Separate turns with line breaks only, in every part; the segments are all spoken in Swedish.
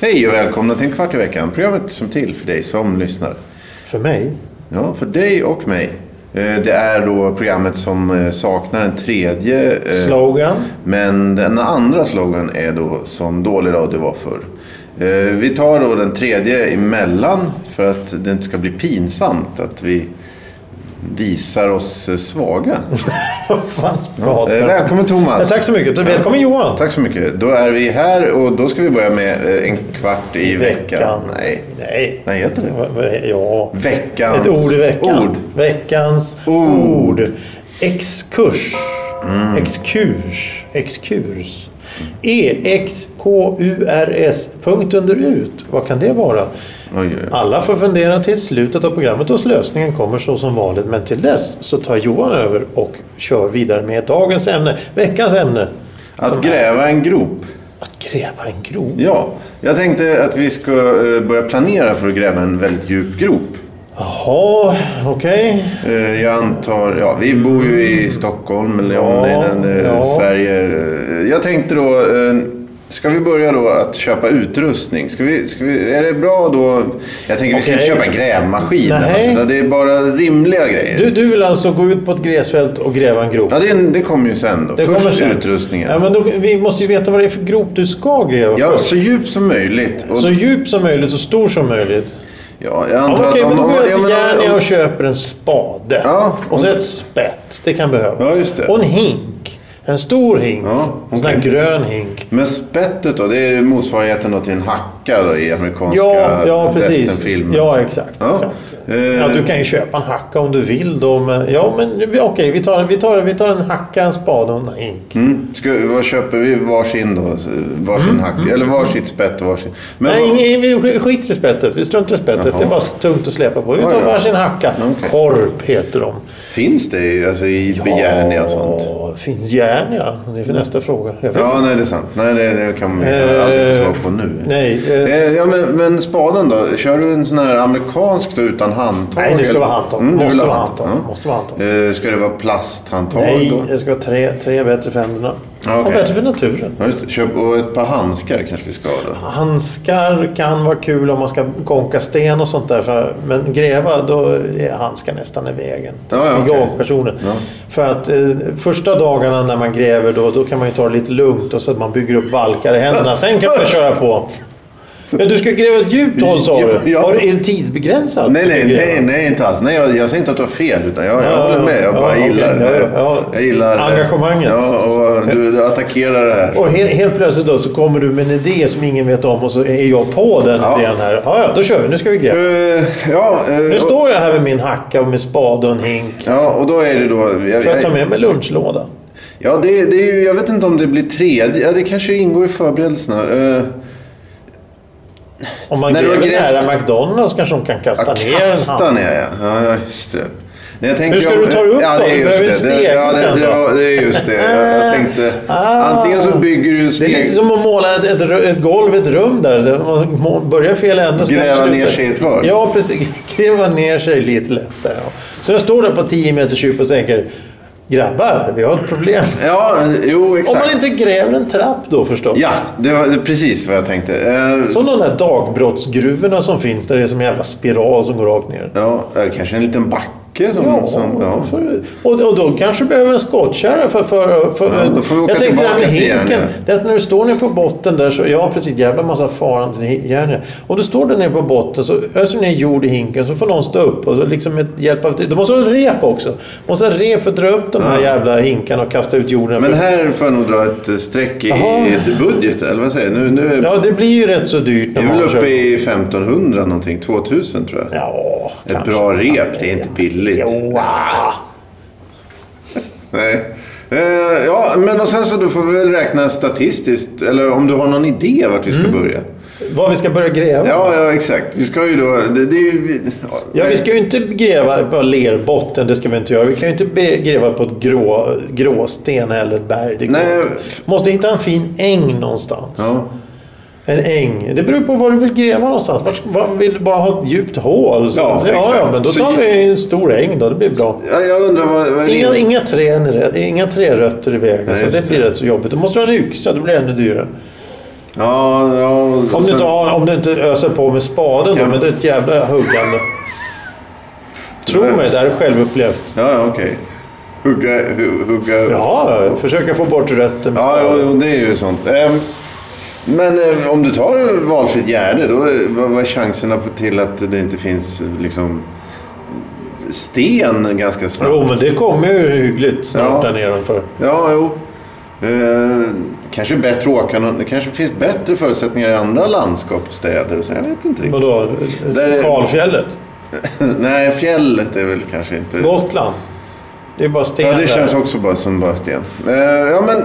Hej och välkomna till en kvart i veckan. Programmet som är till för dig som lyssnar.
För mig?
Ja, för dig och mig. Eh, Det är då programmet som eh, saknar en tredje. eh,
Slogan?
Men den andra slogan är då som dålig radio var förr. Eh, Vi tar då den tredje emellan för att det inte ska bli pinsamt att vi visar oss eh, svaga.
Vad fan pratar
Eh, Välkommen
Ja,
Thomas!
Tack så mycket. Välkommen Johan.
Tack så mycket. Då är vi här och då ska vi börja med eh, en kvart i, veckan. Nej.
Nej.
Nej, heter det?
Va- va- Ja.
Veckans
Ett ord i veckan.
ord.
Veckans
Ord. Mm.
ord. Exkurs. Exkurs. Exkurs. E E-X-K-U-R-S. Punkt under ut. Vad kan det vara?
Oj, oj, oj.
Alla får fundera till slutet av programmet och lösningen kommer så som vanligt. Men till dess så tar Johan över och kör vidare med dagens ämne. Veckans ämne.
Att
Som-
gräva en grop.
Att gräva en grop.
Ja, jag tänkte att vi ska eh, börja planera för att gräva en väldigt djup grop.
Jaha, okej.
Eh, Jag antar, ja vi bor ju i Stockholm eller om det är den, eh,
ja.
Sverige. Eh, Jag tänkte då, eh, ska vi börja då att köpa utrustning? Ska vi, ska vi, är det bra då? Jag tänker vi ska inte
Okej.
köpa en grävmaskin.
Nej.
eller något sånt där. Det är bara rimliga grejer.
Du, du vill alltså gå ut på ett gräsfält och gräva en grop?
Ja, det, är en- det kommer ju sen då.
Det
Först
kommer sen.
utrustningen.
Ja, men då, vi måste ju veta vad det är för grop du ska gräva
Ja,
först.
så djup som möjligt. Och,
Så djup som möjligt, så stor som möjligt.
ja, jag
Ja,
antar
Okej,
att
men
om,
då går
om,
jag
ja,
till
men om-
Järnia och köper en spade.
Ja,
och så
om-
ett spett, det kan behövas.
Ja, just det.
Och en hink. En stor hink.
Ja,
En sån här
okej.
grön hink.
Men spettet då, det är motsvarigheten då till en hacka då, i amerikanska
Ja, ja precis.
westernfilmer.
Ja, exakt.
Ja.
exakt.
Eh.
Ja, du kan ju köpa en hacka om du vill då. Men, ja, men vi- okej, vi, tar, vi, tar, vi tar en hacka, en spade och en hink.
Mm. Ska, vad köper vi? Varsin då? Varsin hacka? Eller varsitt spett och varsin... Men
Mm. Nej,
vad-
ingen- vi sk- skiter i spettet. Vi struntar i spettet.
Jaha.
Det är bara tungt att släpa på. Vi
Oj
tar
då.
varsin hacka.
Okej.
Korp heter de.
Finns det i- alltså, i ja. Järnia och sånt?
Ja, Finns Järnia? Det är för nästa fråga. Jag vet
Ja, nej det är sant. Nej, det, det kan man ju
Eh,
aldrig få svar på nu.
Nej, eh,
Eh, Ja, men, men spaden då? Kör du en sån här amerikansk då utan handtag?
Nej, det ska
eller? Mm,
vara handtag.
du
Måste
vill ha
vara handtag. Måste vara handtag.
Eh, Ska det vara plasthandtag
nej
då?
det ska vara tre, tre bättre för händerna.
Ja, okej.
Och bättre för naturen.
Ja, just det. Köp, och ett par handskar kanske vi ska ha då?
Handskar kan vara kul om man ska konka sten och sånt där. För, men gräva, då är handskar nästan i vägen.
Ja, ja,
För
okej.
jag personen.
Ja.
För att eh, första dagarna när man gräver då, då kan man ju ta det lite lugnt och så att man bygger upp valkar i händerna. Sen kan man köra på. Ja, du ska gräva ett djupt hål sa
Ja,
du.
ja.
Har du- Är det tidsbegränsat?
Nej,
Du ska
nej,
gräva?
nej, nej, inte alls. Nej, jag, jag säger inte att du har fel, utan jag, jag
Ja,
håller med. Jag
ja,
bara
okej,
gillar det.
ja, ja, ja.
Jag gillar det.
Engagemanget.
Ja, och du, du attackerar det här.
Och helt, helt plötsligt då så kommer du med en idé som ingen vet om och så är jag på den
Ja.
idén här. Ja, ja, då kör vi. Nu ska vi gräva.
Eh, ja, eh,
Nu
och-
står jag här med min hacka och min spade och en hink.
Ja, och då är det då... Jag,
Får jag ta
jag,
med mig lunchlådan?
ja, det, det är ju, jag vet inte om det blir tredje. Ja, det kanske ingår i förberedelserna. Eh,
Om man
När du har
gräver
grävt-
nära McDonalds kanske de kan kasta
ja,
ner en
kasta
hand.
ner, ja. ja. Ja, just det. Nej, jag tänkte,
Hur ska
jag-
du ta upp
ja,
då?
det? Är
Du
just
behöver ju
det. Det,
stegen
ja, det,
sen
det,
då. Ah.
ja, det är just det. Jag, jag tänkte, antingen så bygger du
Det är
steg...
lite som att måla ett, ett, rö- ett golv, ett rum där. Det- Man må- börjar fel ände. så
Gräva
kan man
ner
sluta.
sig i ett hörn.
Ja, precis. Gräva ner sig lite lätt där. Ja. Så jag står där på 10 meters djup och tänker Grabbar, vi har ett problem.
Ja, jo,
Om
exakt.
man inte gräver en trapp då förstås.
Ja, det var det är precis vad jag tänkte. Eh,
Som de där dagbrottsgruvorna som finns där det är som en jävla spiral som går rakt ner.
ja, eh, kanske en liten backe som... Ja, som ja.
För, och, och då kanske du behöver en skottkärra för... för, för
Ja, då får vi åka
jag tänkte det här med
tillbaka till
hinken.
Järnia.
Det är att när du står nere på botten där så... Ja, precis. Jävla massa faran till hin- Järnia. Om du står där nere på botten så öser du ner jord i hinken så får någon stå upp och så liksom med hjälp av... Du måste ha ett rep också. måste ha ett rep för att dra upp de här jävla hinkarna och kasta ut jorden.
Men här får jag nog dra ett eh, streck i,
Jaha.
i budget, eller vad säger jag? Nu, nu är
Ja, det blir ju rätt så dyrt när
vi är
man
väl uppe
köper-
i 1500 någonting, 2000 tror jag.
Ja,
Ett
kanske. ah.
bra rep, det är inte billigt.
Jo, ah.
Nej. Eh, ja, men och sen så då får vi väl räkna statistiskt, eller om du har någon idé vart vi ska
Mm.
börja.
Vad vi ska börja gräva?
Ja, ja, exakt. Vi ska ju då... Det, det är ju,
Ja, vi ska ju inte gräva på lerbotten, det ska vi inte göra. Vi kan ju inte be- gräva på ett grå, gråsten eller ett berg. Det går
Nej.
inte. Måste hitta en fin äng någonstans.
Ja.
En äng. Det beror på var du vill gräva någonstans. Vart, var, vill du bara ha ett djupt hål? Så.
Ja,
ja,
exakt.
men då tar
Så-
vi en stor äng då. Det blir bra.
Ja, jag undrar vad, vad är
Inga,
din...
inga, trän, i rä- inga trärötter i vägen,
Nej,
så
just
det blir rätt så jobbigt. Då måste du ha en yxa, det blir ännu dyrare.
Ja, ja... och
Om du,
sen-
inte har, om du inte öser på med spaden då,
Kan-
men det är ett jävla huggande. Tro mig, det här är självupplevt.
Ja, ja, okej. Hugga... hu- hugga...
Ja, försöka få bort rötten. med
Ja,
spaden.
jo, jo, det är ju sånt. Ehm, men eh, om du tar valfritt gärde, då, eh, vad, vad är chanserna på till att det inte finns eh, liksom, sten ganska snabbt?
Jo, men det kommer ju hyggligt snart
Ja.
där nedanför.
Ja, jo. Ehm, kanske bättre åka någon, Det kanske finns bättre förutsättningar i andra landskap och städer. och Så jag vet inte riktigt.
Vadå?
Där är-
Kalfjället?
Nej, fjället är väl kanske inte...
Gotland? Det är bara sten
Ja, det
där.
känns också bara som bara sten. Eh, ja, men,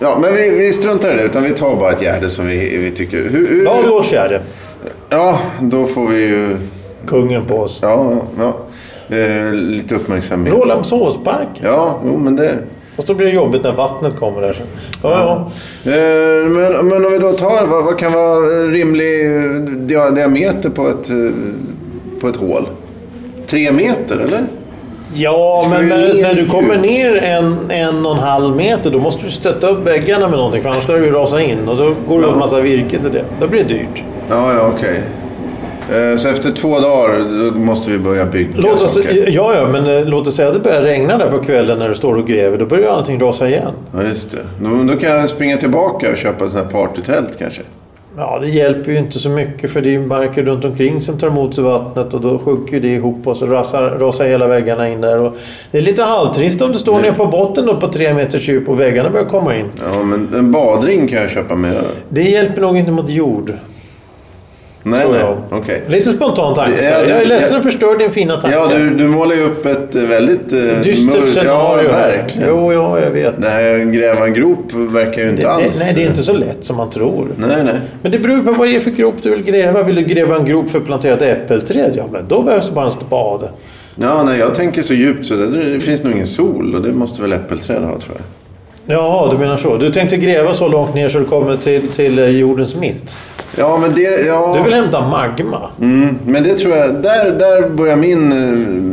ja, men vi, vi struntar i det. Utan vi tar bara ett gärde som vi, vi tycker... Hur, hur,
Lag vårt fjärde.
Ja, då får vi ju...
Kungen på oss.
Ja, ja. ja. Eh, lite uppmärksamhet.
Rålambshovsparken.
Ja, jo men det...
Fast då blir det jobbigt när vattnet kommer där sen. Ja, ja.
Eh, men, men om vi då tar, vad, vad kan vara en rimlig eh, dia- diameter på ett, eh, på ett hål? Tre meter, eller?
Ja,
Ska
men
vi
när,
ner
när du
djupt?
kommer ner en, en och en halv meter då måste du stötta upp väggarna med någonting för annars lär du ju rasa in och då går det åt massa virke till det. Då blir det dyrt.
Ja, ja, okej. Eh, så efter två dagar då måste vi börja bygga
Låt oss,
saker.
ja, ja, men eh, låt oss säga att det börjar regna där på kvällen när du står och gräver. Då börjar ju allting rasa igen.
Ja, just det. Då, då kan jag springa tillbaka och köpa ett sånt här partytält kanske.
Ja, det hjälper ju inte så mycket för det är ju marker runt omkring som tar emot sig vattnet och då sjunker ju det ihop och så rasar, rasar hela väggarna in där. Och det är lite halvtrist om du står nere på botten då på tre meters djup och väggarna börjar komma in.
Ja, men en badring kan jag köpa med.
Det hjälper nog inte mot jord.
Nej,
tror
nej.
jag.
Okej.
Lite spontan tanke. så
Ja,
här.
du-
jag är ledsen
ja.
att förstöra din fina tanke.
Ja, du, du målar ju upp ett eh, väldigt eh,
Dystert
Ja,
scenario. här.
verkligen.
Jo, ja, jag vet.
Det här att gräva en grop verkar ju inte
Det, det,
alls...
nej, det är inte så lätt som man tror.
Nej, nej.
Men det beror på vad det är för grop du vill gräva. Vill du gräva en grop för att plantera ett äppelträd? Ja, men då behövs det bara en spade.
Ja, nej, jag tänker så djupt så det, det finns nog ingen sol och det måste väl äppelträd ha tror jag.
Jaha, du menar så. Du tänkte gräva så långt ner så du kommer till, till eh, jordens mitt.
Ja, men det... Ja,
Du vill hämta magma.
mm, men det tror jag... Där, där börjar min eh,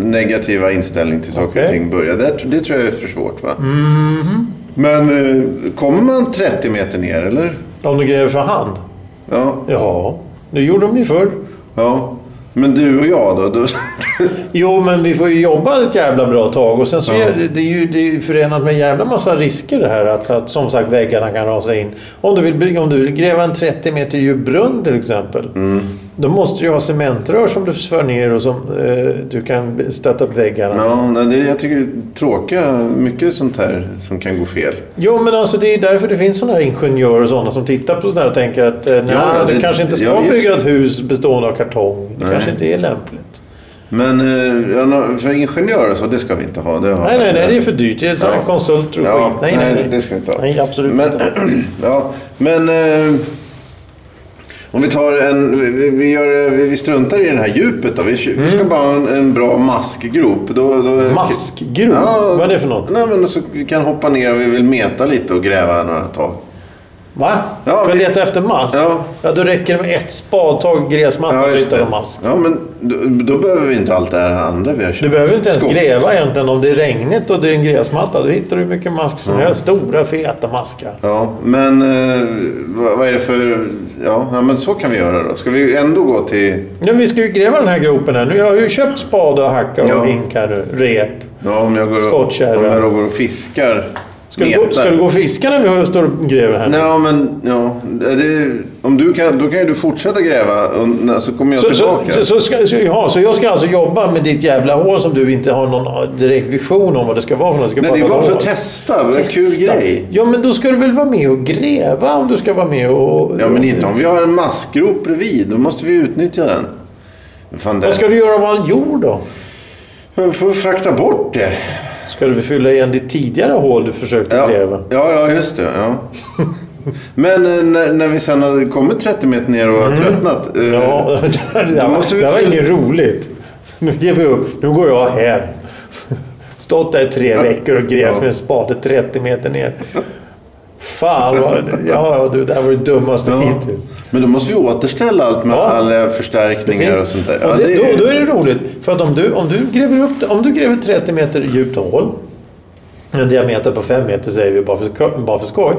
negativa inställning till saker och
Okej. Mm-hmm.
ting börja. Det, det tror jag är för svårt va? Men eh, kommer man 30 meter ner eller?
Om du gräver för hand.
Ja.
Ja, det gjorde de ju förr.
ja. Men du och jag då? då
Jo, men vi får ju jobba ett jävla bra tag och sen så är det, det är ju det är ju förenat med en jävla massa risker det här att, att som sagt väggarna kan rasa in. Om du vill, bygga- om du vill gräva en 30 meter djup brunn till exempel.
Mm.
Då måste du ha cementrör som du svär ner och som eh, du kan stötta upp väggarna.
ja, nej, det, jag tycker det är tråkiga, mycket sånt här som kan gå fel.
Jo, men alltså det är därför det finns sådana här ingenjörer och sådana som tittar på sådana här och tänker att eh, nej,
ja,
du
det-
kanske inte ska
ja, just
bygga
det.
ett hus bestående av kartong. Det
Nej.
kanske inte är lämpligt.
Men eh, ja, nå- för ingenjörer och så, det ska vi inte ha. Det har
Nej, nej, nej, det är för dyrt. Det är sådana
Ja.
konsulter och
Ja,
skit. Nej, nej, nej.
det ska vi inte ha.
Nej, absolut
men,
inte.
ja, men eh, om vi tar en... vi- Vi, vi, gör, eh, vi, vi struntar i det här djupet då. Vi, vi ska
Mm.
bara ha en, en bra maskgrop. Då, då,
Maskgrop? Vad är det för något?
Nej, men så vi kan hoppa ner och vi vill meta lite och gräva några tag.
Va?
Ja,
För att
vi-
leta efter mask?
Ja.
då räcker det med ett spadtag gräsmatta för att
just
hitta
det.
en mask.
Ja, men då, då behöver vi inte allt det här andra vi har köpt.
Du behöver inte ens
Skog.
gräva egentligen om det är regnigt och det är en gräsmatta. Då hittar du hur mycket mask som helst. Stora, feta maskar.
Ja, men eh, vad, vad är det för... Ja, ja, men så kan vi göra då. Ska vi ändå gå till...
Nu, vi ska ju gräva den här gropen här. Nu har jag ju köpt spade och hacka och
Ja.
vink här nu. Rep.
Ja, om jag går, om
Skottkärra.
jag då går och fiskar.
Ska du, gå,
metar.
ska du gå och fiska när vi står och gräver här?
Nej, ja, men ja. Det, om du kan, då kan ju du fortsätta gräva och, nej, så kommer jag
Så, så,
tillbaka.
så, så, ska, så, ja, så jag ska alltså jobba med ditt jävla hål som du inte har någon direkt vision om vad det ska vara för något. Ska
Nej, det är bara
vara ett
för att
hål.
testa. Vad en kul
Testa.
grej.
Ja, men då ska du väl vara med och gräva om du ska vara med och...
Ja, men inte om vi har en maskgrop bredvid. Då måste vi utnyttja den. Fan, det...
Vad ska du göra av all jord då?
Jag får frakta bort det.
Ska Ska du fylla igen ditt tidigare hål du försökte
Ja,
gräva?
ja, ja just det. Ja. Men eh, när, när vi sen hade kommit 30 meter ner och tröttnat. eh,
Mm. Ja, det, det,
Då måste vi
det här var
fylla-
inget roligt. Nu ger vi upp. Nu går jag hem. Stått där i tre veckor och grävt med en spade 30 meter ner. Fan, vad, ja, ja, du, det här var det dummaste
ja.
hittills.
Men då måste vi återställa allt med
Ja.
alla förstärkningar och sånt där.
Och
Ja,
det,
det är-
då, då är det roligt. För att om du, om du gräver upp om du gräver 30 meter djupt hål, en diameter på 5 meter säger vi bara för, sko- bara för skoj,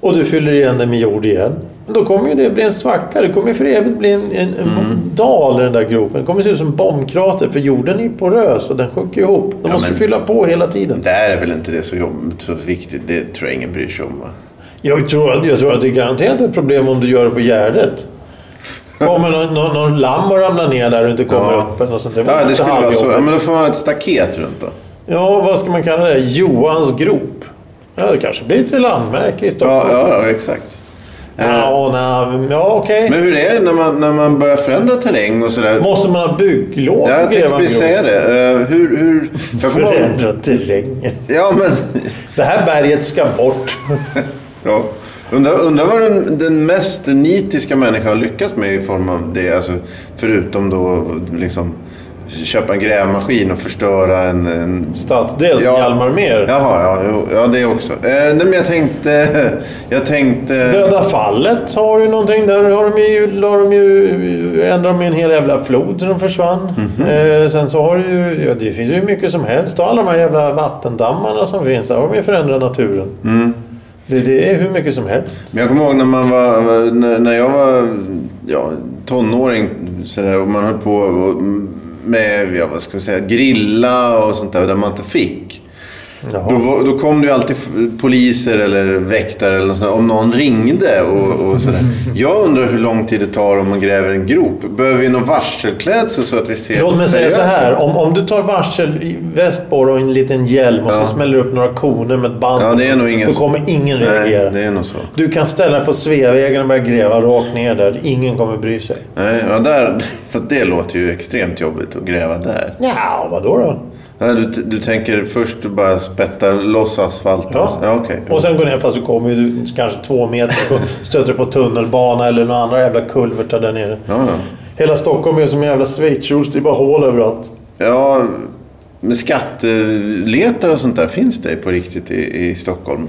och du fyller igen det med jord igen, då kommer ju det bli en svacka. Det kommer ju för evigt bli en, en, en dal i den där gropen. Det kommer se ut som en bombkrater, för jorden är ju porös och den sjunker ihop. De måste
men-
fylla på hela tiden.
Där är väl inte det så, jobb, så viktigt. Det tror jag ingen bryr sig om. Va?
Jag tror, att- jag tror att det är garanterat ett problem om du gör det på Gärdet. Kommer någon, någon, någon lamm och ramlar ner där och inte kommer
Ja.
upp. Eller något sånt. Det, var
Ja, det
lite
skulle vara så.
halvjobbigt.
Ja, men då får man ha ett staket runt då.
Ja, vad ska man kalla det? Johans grop. Ja, det kanske blir ett landmärke i
Ja,
Stockholm. Ja,
ja, ja exakt.
ja. nej, ja okej.
eh. Men hur är det när man, när man börjar förändra terräng och sådär?
Måste man ha bygglov
Ja,
för
jag
att
tänkte
gräva en
precis
grop?
säga det. Eh, hur... hur... Jag kommer ihåg-
Förändra terrängen.
Ja, men...
Det här berget ska bort.
Ja. Undrar undra vad den, den mest nitiska människan har lyckats med i form av det. Alltså, förutom då liksom köpa en grävmaskin och förstöra en... en...
Stadsdel som
Ja.
Hjalmar Mer.
Jaha, ja, jo, ja det också. Eh, nej, men jag tänkte... Jag tänkte...
Döda fallet har ju någonting. Där har de ju, la de ju, ändrade de ju en hel jävla flod så de försvann.
Mhm.
eh, sen så har du ju, ja, det finns ju hur mycket som helst. Och alla de här jävla vattendammarna som finns, där har de ju förändrat naturen.
Mm.
Det, det är hur mycket som helst.
Men jag kommer ihåg när man var... När, när jag var ja, tonåring så där, och man höll på och, med, ja, vad ska jag säga, grilla och sånt där där man inte fick.
Jaha.
Då, var- då kom det ju alltid f- poliser eller väktare eller något sånt, där, om någon ringde och,
Mm.
och sådär. Jag undrar hur lång tid det tar om man gräver en grop. Behöver vi någon varselklädsel så att vi ser...
Låt mig säga så
seriösa?
här. Om, om du tar varselväst på dig och en liten hjälm och
Ja.
så smäller upp några koner med ett band.
Ja, det är nog ingen
Då
som-
kommer ingen reagera.
Nej, det är nog så.
Du kan ställa dig på Sveavägen och börja gräva rakt ner där. Ingen kommer bry sig.
Nej, ja, där, för att det låter ju extremt jobbigt att gräva där.
Ja, vadå då?
Ja, du, t- du tänker först bara spätta loss asfalten?
Ja.
och så- Ja, okej.
Och sen går ner, fast du kommer ju du- kanske två meter och stöter på tunnelbana eller några andra jävla kulvertar där nere.
Ja, ja.
Hela Stockholm är som en jävla schweizerost. Det är bara hål överallt.
ja, men skatteletare och sånt där, finns det på riktigt i, i Stockholm?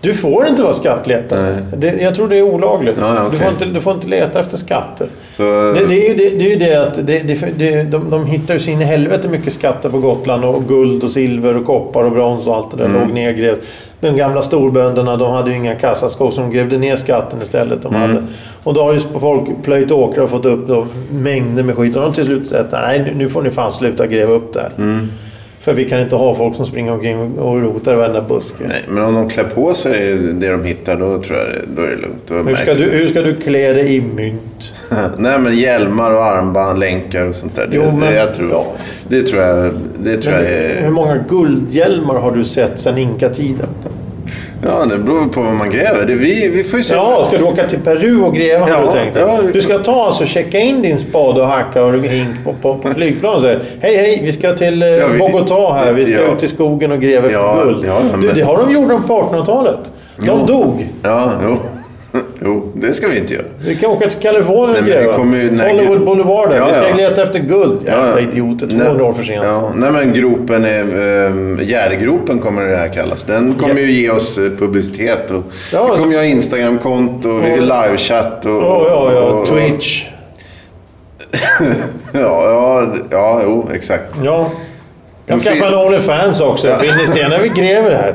Du får inte vara skattletare. Det, jag tror det är olagligt.
Ja, ja,
du,
okej.
får inte, du får inte leta efter skatter.
Så,
Det, det är ju det, det, är ju det att det, det, det, de, de hittar ju sin helvete mycket skatter på Gotland och guld och silver och koppar och brons och allt det där
Mm.
låg nedgrävt. De gamla storbönderna de hade ju inga kassaskåp så de grävde ner skatten istället. De
Mm.
hade. Och då har ju folk plöjt åkrar och fått upp då, mängder med skit. Och de har till slut sagt nej nu- nu får ni fan sluta gräva upp det här.
Mm.
För vi kan inte ha folk som springer omkring och rotar i varenda buske.
Nej, men om de klär på sig det de hittar, då tror jag det, då är det lugnt. Då
Hur
märks
ska,
det.
du, hur ska du klä dig i mynt?
Nej, men hjälmar och armband, länkar och sånt där. Det,
Jo, men-
det, jag tror,
ja.
det tror jag... Det tror jag
Hur
är,
många guldhjälmar har du sett sedan inkatiden?
ja, det beror på vad man gräver. Det, vi, vi får ju se.
Ja, ska du åka till Peru och gräva har
Ja,
du tänkt dig?
ja, vi
Du ska
får-
ta alltså checka in din spade och hacka och hink på, på, på flygplan och säga Hej, hej, vi ska till eh,
vi-
Bogotá här. Vi ska
Ja.
ut i skogen och gräva efter
Ja,
guld.
ja, men-
du, det har de gjort dem på 1800-talet. De dog.
Ja, jo. jo, det ska vi inte göra.
Vi kan åka till Kalifornien
Nej,
och
men det
gräva.
kommer ju den här
Hollywood
gro-
Boulevard där.
Ja,
vi ska
ja.
leta efter guld.
Ja,
Jävla idioter, 200 år för sent.
Ja, nej, men gropen är... Um, Järgropen kommer det här kallas. Den kommer
Ja.
ju ge oss eh, publicitet. Och,
Ja,
vi kommer ju ha Instagramkonto, och livechatt och...
Ja, ja,
och-
ja.
och-
Twitch.
Ja, ja, ja, jo, exakt.
Ja. Jag
En
skaffar
fin-
en Onlyfans också. Vill ni se när vi gräver här?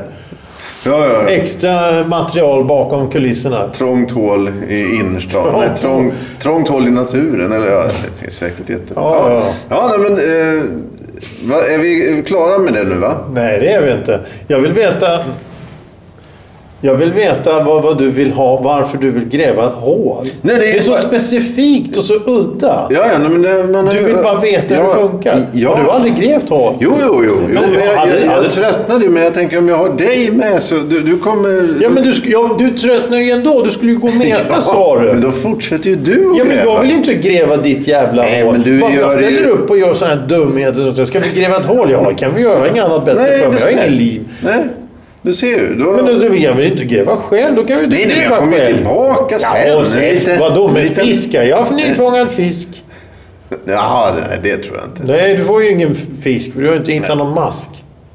Ja, ja, ja.
Extra material bakom kulisserna.
Trångt hål i innerstan.
Trångt
Nej, trång, trångt hål i naturen. Eller ja, det finns säkert jätte...
Ja, ja,
ja. nej, men, eh, va, är, vi, är vi klara med det nu va?
Nej, det är vi inte. Jag vill veta... Jag vill veta vad, vad du vill ha, varför du vill gräva ett hål.
Nej, det är
det är så
bara-
specifikt och så udda.
Ja, ja, nej, men det, man,
Du vill bara veta hur det funkar.
Ja.
Du har aldrig grävt hål.
Jo, jo, jo. jo
Men
men jag,
hade-
jag, jag
hade-
tröttnade ju, men jag tänker om jag har dig med så du, du kommer...
Ja, men du, sk- ja, du tröttnar ju ändå. Du skulle ju gå och meta, sa du.
Men då fortsätter ju du att
Ja, men jag
gräva.
vill ju inte gräva ditt jävla
Nej,
hål.
men du
Bara för jag
gör det
ställer
ju-
upp och gör sådana här dumheter. och så, Ska vi gräva ett hål? Ja, det kan vi göra. Jag har inget annat bättre
Nej,
för
det
mig. Jag har
snäll.
ingen liv.
Nej, du ser ju. Då...
Men då, jag vill inte gräva själv. Då kan ju du
Nej, nej, men jag
gräva
kommer ju
själv.
tillbaka sen.
Ja, och sen
Lite-
vadå med
lite-
fiskar? Jag har nyfångad fisk.
Jaha, nej, det tror jag inte.
Nej, du får ju ingen fisk för du har inte hittat någon mask.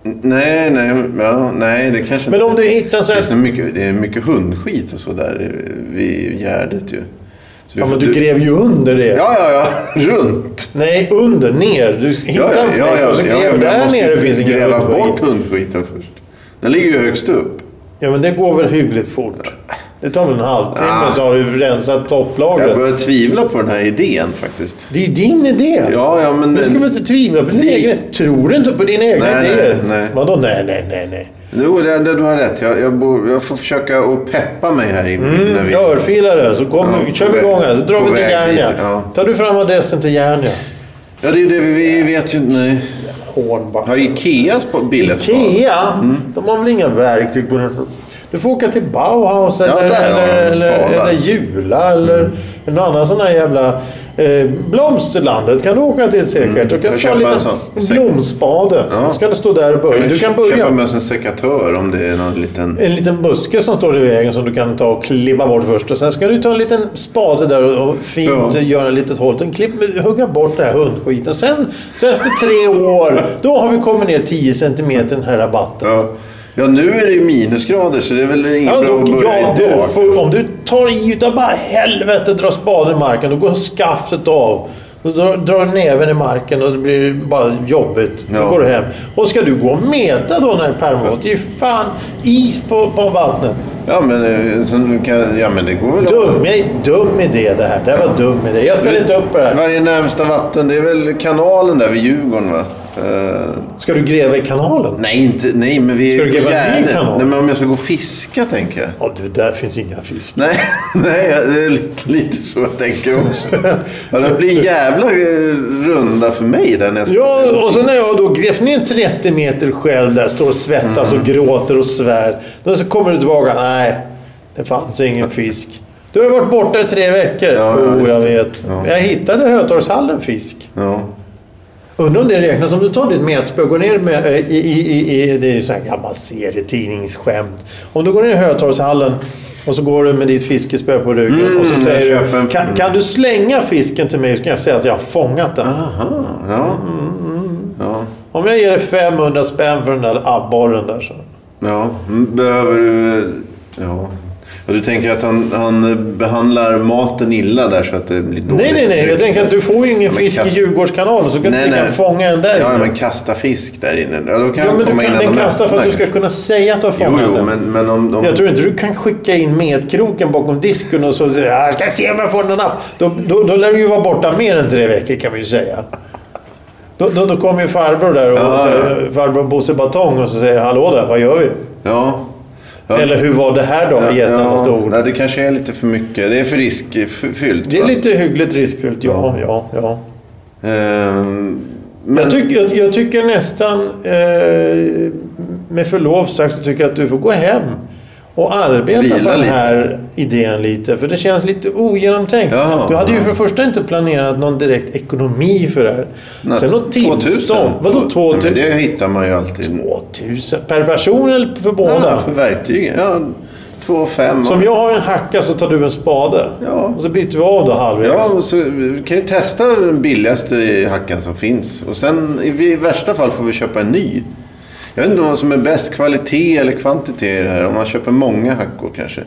Nej, nej, ja, nej, det kanske
Men
inte...
om du hittar så
Det
här...
finns nog mycket, det är mycket hundskit och så där vid Gärdet ju. Så vi
Ja,
får-
men du gräver ju under det.
Ja, ja, ja. Runt.
Nej, under, ner. Du
Ja,
hittar
ja,
en fläck
ja, ja,
och så
ja,
gräver
men jag
där
måste ju
nere. finns ingen
gräva
rundskit.
bort hundskiten först. Den ligger ju högst upp.
Ja, men det går väl hyggligt fort. Det tar väl en halvtimme
Ah.
så har du rensat
Jag
topplagret.
börjar tvivla på den här idén faktiskt.
Det är ju din idé.
Ja, ja, men...
Nu ska vi inte tvivla på din
Li-
egen. Tror du inte på dina egna
Nej, nej,
idéer?
nej.
Vadå nej, nej, nej, nej.
Jo, det, det, du har rätt. Jag, jag, bor, jag får försöka att peppa mig här inne.
Mm,
när vi...
Örfilare, så kom,
Ja,
kör
på
vi
väg-
igång här. Så drar
på
vi till
väg
Järnia.
dit, ja.
Tar du fram adressen till Järnia?
Ja, det är ju det vi,
Eh,
vi vet ju inte. Nej. Har
Hornbacka.
Ikeas på billigt
Ikea?
Mm.
De har väl inga verktyg på den? Du får åka till Bauhaus eller,
där har de Mm.
eller, eller,
spadar.
eller Jula eller någon annan sån här jävla... Eh, blomsterlandet kan du åka till säkert. Du kan
Mm. Jag
ta
köper
en
en
liten
sån. Säkert.
blomspade.
Ja.
Då ska du stå där och börja. Du kan
Köpa
börja.
med oss en sekatör om det är någon liten...
En liten buske som står i vägen som du kan ta och klippa bort först. Och sen ska du ta en liten spade där och och fint
Ja.
göra ett litet hål. Den klipp, hugga bort den här hundskiten. Sen, sen efter tre år, då har vi kommit ner 10 centimeter i den här rabatten.
Ja. ja, nu är det ju minusgrader så det är väl inget
Ja,
bra att
då,
börja
ja,
idag.
du, får- om du tar i utav bara helvete drar spaden i marken, då går skaftet av. Då drar, drar näven i marken och det blir bara jobbigt. Då
Ja.
går du hem. Och ska du gå och meta då när permot? Det är ju fan is på, på vattnet.
Ja, men, eh, så nu kan, ja, men det går väl
Dum, jag är dum idé det här. Det här var dum idé. Jag ställer inte upp på det här.
Varje närmsta vatten, det är väl kanalen där vid Djurgården va? Eh,
Ska du gräva i kanalen?
nej, inte, nej, men vi är
Ska
ju
du
på
gräva en ny
Gärdet.
kanal?
Nej, men om jag ska gå och fiska tänker jag.
Ja du, där finns inga fisk.
Nej, nej, det är li- lite så jag tänker också. Ja, det blir en jävla eh, runda för mig där när jag ska-
Ja, och så när jag då grävt ner 30 meter själv där, står och svettas
Mm.
och gråter och svär. Då så kommer du tillbaka. Nej, det fanns ingen fisk. Du har ju varit borta i tre veckor.
Ja, ja,
oh,
visst.
jag vet.
Ja.
Men Jag hittade i Hötorgshallen fisk.
Ja.
Undrar om det räknas om du tar ditt metspö och går ner med, eh, i, i, i, i... Det är ju sån här gammal serietidningsskämt. Om du går ner i Hötorgshallen och så går du med ditt fiskespö på ryggen och så
Mm, jag
säger
köper
du
en-
kan, kan du slänga fisken till mig så kan jag säga att jag har fångat den.
Aha, ja. Ja.
Om jag ger dig 500 spänn för den där abborren där så.
Ja, mm, behöver du... Ja. ja du tänker att han, han behandlar maten illa där så att det blir dåligt?
Nej, nej, nej. Jag tänker att du får ju
men
ingen fisk i
kast-
Djurgårdskanalen så kan
Nej,
du kan
nej.
fånga en där
Ja,
inne.
men kasta fisk där inne. Ja, då kan
Ja,
han
men
komma
du kan
in
den
genom
kasta för att du
öppna.
ska kunna säga att du har
Jo,
fångat
jo,
den.
men, men om... om...
Jag tror inte du kan skicka in metkroken bakom disken och så "Ja, jag ska se om jag får någon app. Då, då, då lär du ju vara borta mer än tre veckor kan vi ju säga. Då, då, då kommer ju farbror där och
Ja,
så, farbror Bosse Batong och så säger hallå där, vad gör vi?
Ja. Ja.
Eller hur var det här då? I ett enda stort.
Nej, det kanske är lite för mycket. Det är för riskfyllt.
Det är
va?
lite hyggligt riskfyllt, ja, ja, ja.
Ehm, men...
Jag, tycker- jag, jag tycker nästan, eh, med förlov sagt, så tycker jag att du får gå hem och arbeta
Vila
på den
lite.
här idén lite. För det känns lite ogenomtänkt.
Ja,
du hade ju
ja.
för det första inte planerat någon direkt ekonomi för det här.
Nej,
Sen något
2000.
tillstånd. Vadå
Ja,
2000?
men Det hittar man ju alltid.
2000? Per person eller för
Ja,
båda?
för verktygen. Ja, två fem.
Som jag har en hacka så tar du en spade.
Ja.
Och så byter vi av då halvvägs.
Ja, och så, vi kan ju testa den billigaste hackan som finns. Och sen i värsta fall får vi köpa en ny. Jag vet inte vad som är bäst, kvalitet eller kvantitet i det här. Om man köper många hackor kanske.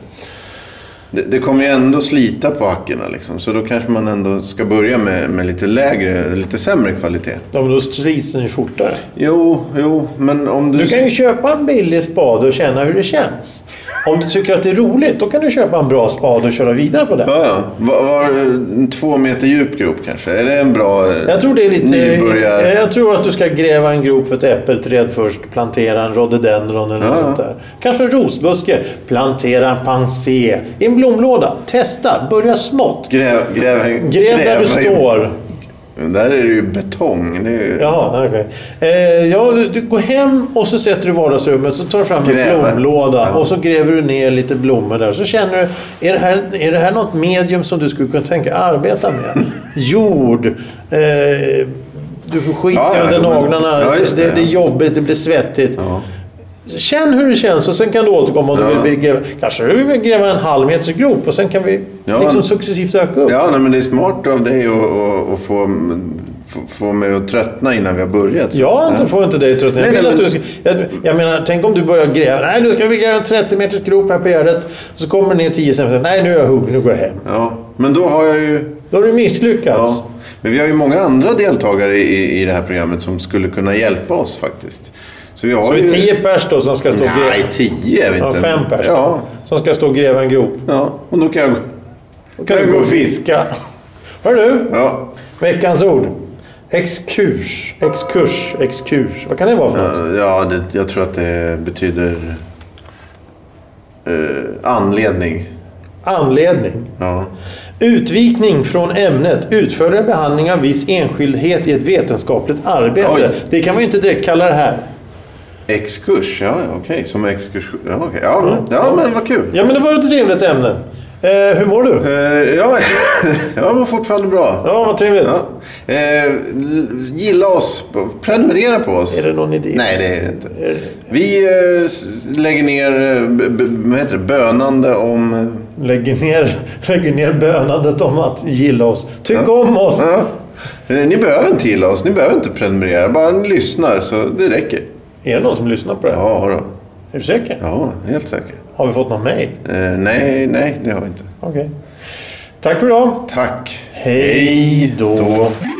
Det, det kommer ju ändå slita på hackorna liksom. Så då kanske man ändå ska börja med, med lite lägre, lite sämre kvalitet.
Ja, men då slits den ju fortare.
Jo, jo, men om du...
Du kan ju köpa en billig spade och känna hur det känns. Om du tycker att det är roligt, då kan du köpa en bra spade och köra vidare på den.
Ja, ja. Var, var en två meter djup grop kanske? Är det en bra eh,
Jag tror det är lite...
nybörjar...
Jag, jag tror att du ska gräva en grop för ett äppelträd först, plantera en rhododendron eller något
Ja.
sånt där. Kanske en rosbuske, plantera en pansé i en blomlåda. Testa, börja smått.
Gräv, gräv,
Gräv där du
i-
står.
Där är det ju betong. Det är ju...
Jaha, okej. Eh, ja, du, du går hem och så sätter du i vardagsrummet så tar du fram en
Gräver.
blomlåda
Ja.
och så gräver du ner lite blommor där. Så känner du, är det här, är det här något medium som du skulle kunna tänka arbeta med? Jord. Eh, du får skit
Ja, ja,
under
jo, men-
naglarna.
ja, just
det,
det,
det är
ja.
jobbigt, det blir svettigt. Känn hur det känns och sen kan du återkomma om du
Ja.
vill gräva. Kanske du vill gräva en halv meters grop och sen kan vi
Ja.
liksom successivt öka upp.
Ja, nej, men det är smart av dig att- att att få, få- få mig att tröttna innan vi har börjat.
Jag inte, får inte dig trött. Jag,
Nej,
vill
nej,
att du,
men-
ska- jag, jag menar, tänk om du börjar gräva. Nej, nu ska vi gräva en 30 meters grop här på Gärdet. Så kommer du ner 10 centimeter. Nej, nu är jag hugg. Nu går jag hem.
Ja, men då har jag ju...
Då har du misslyckats.
Ja. Men vi har ju många andra deltagare i, i det här programmet som skulle kunna hjälpa oss faktiskt. Så vi har
Det
ju...
är 10 pers då som ska stå och gräva.
Nej, tio är vi
Ja,
inte.
fem pers
Ja,
som ska stå och gräva en grop.
ja. och då kan jag gå...
Då kan du
gå
gå och
och
fiska. Hör du?
Ja,
Veckans ord. Exkurs, exkurs, exkurs. Vad kan det vara för något?
ja det, jag tror att det betyder... Eh, anledning.
Anledning.
Ja.
Utvikning från ämnet, utförligare behandling av viss enskildhet i ett vetenskapligt arbete.
Oj.
Det kan man ju inte direkt kalla det här.
Exkurs, ja ja, okej. Som exkurs... Ja, okej. ja, men- ja, men vad kul.
Ja, men det var ett trevligt ämne. Eh, hur mår du?
Eh, ja, jag mår fortfarande bra.
Ja, vad trevligt.
Ja. Eh, l- gilla oss, prenumerera på oss.
Är det någon idé?
Nej, det är det inte. Vi eh, s- lägger ner eh, b- b- vad heter det? bönande om... eh,
Lägger ner, lägger ner bönandet om att gilla oss. Tyck om oss!
Ja. Eh, Ni behöver inte gilla oss, ni behöver inte prenumerera. Bara ni lyssnar så det räcker.
Är det någon som lyssnar på det? här?
Ja, då.
Är du säker?
ja helt säker.
Har vi fått någon mail?
Eh, nej, nej, det har vi inte.
Okej. Tack för idag.
Tack.
Hej då.
då.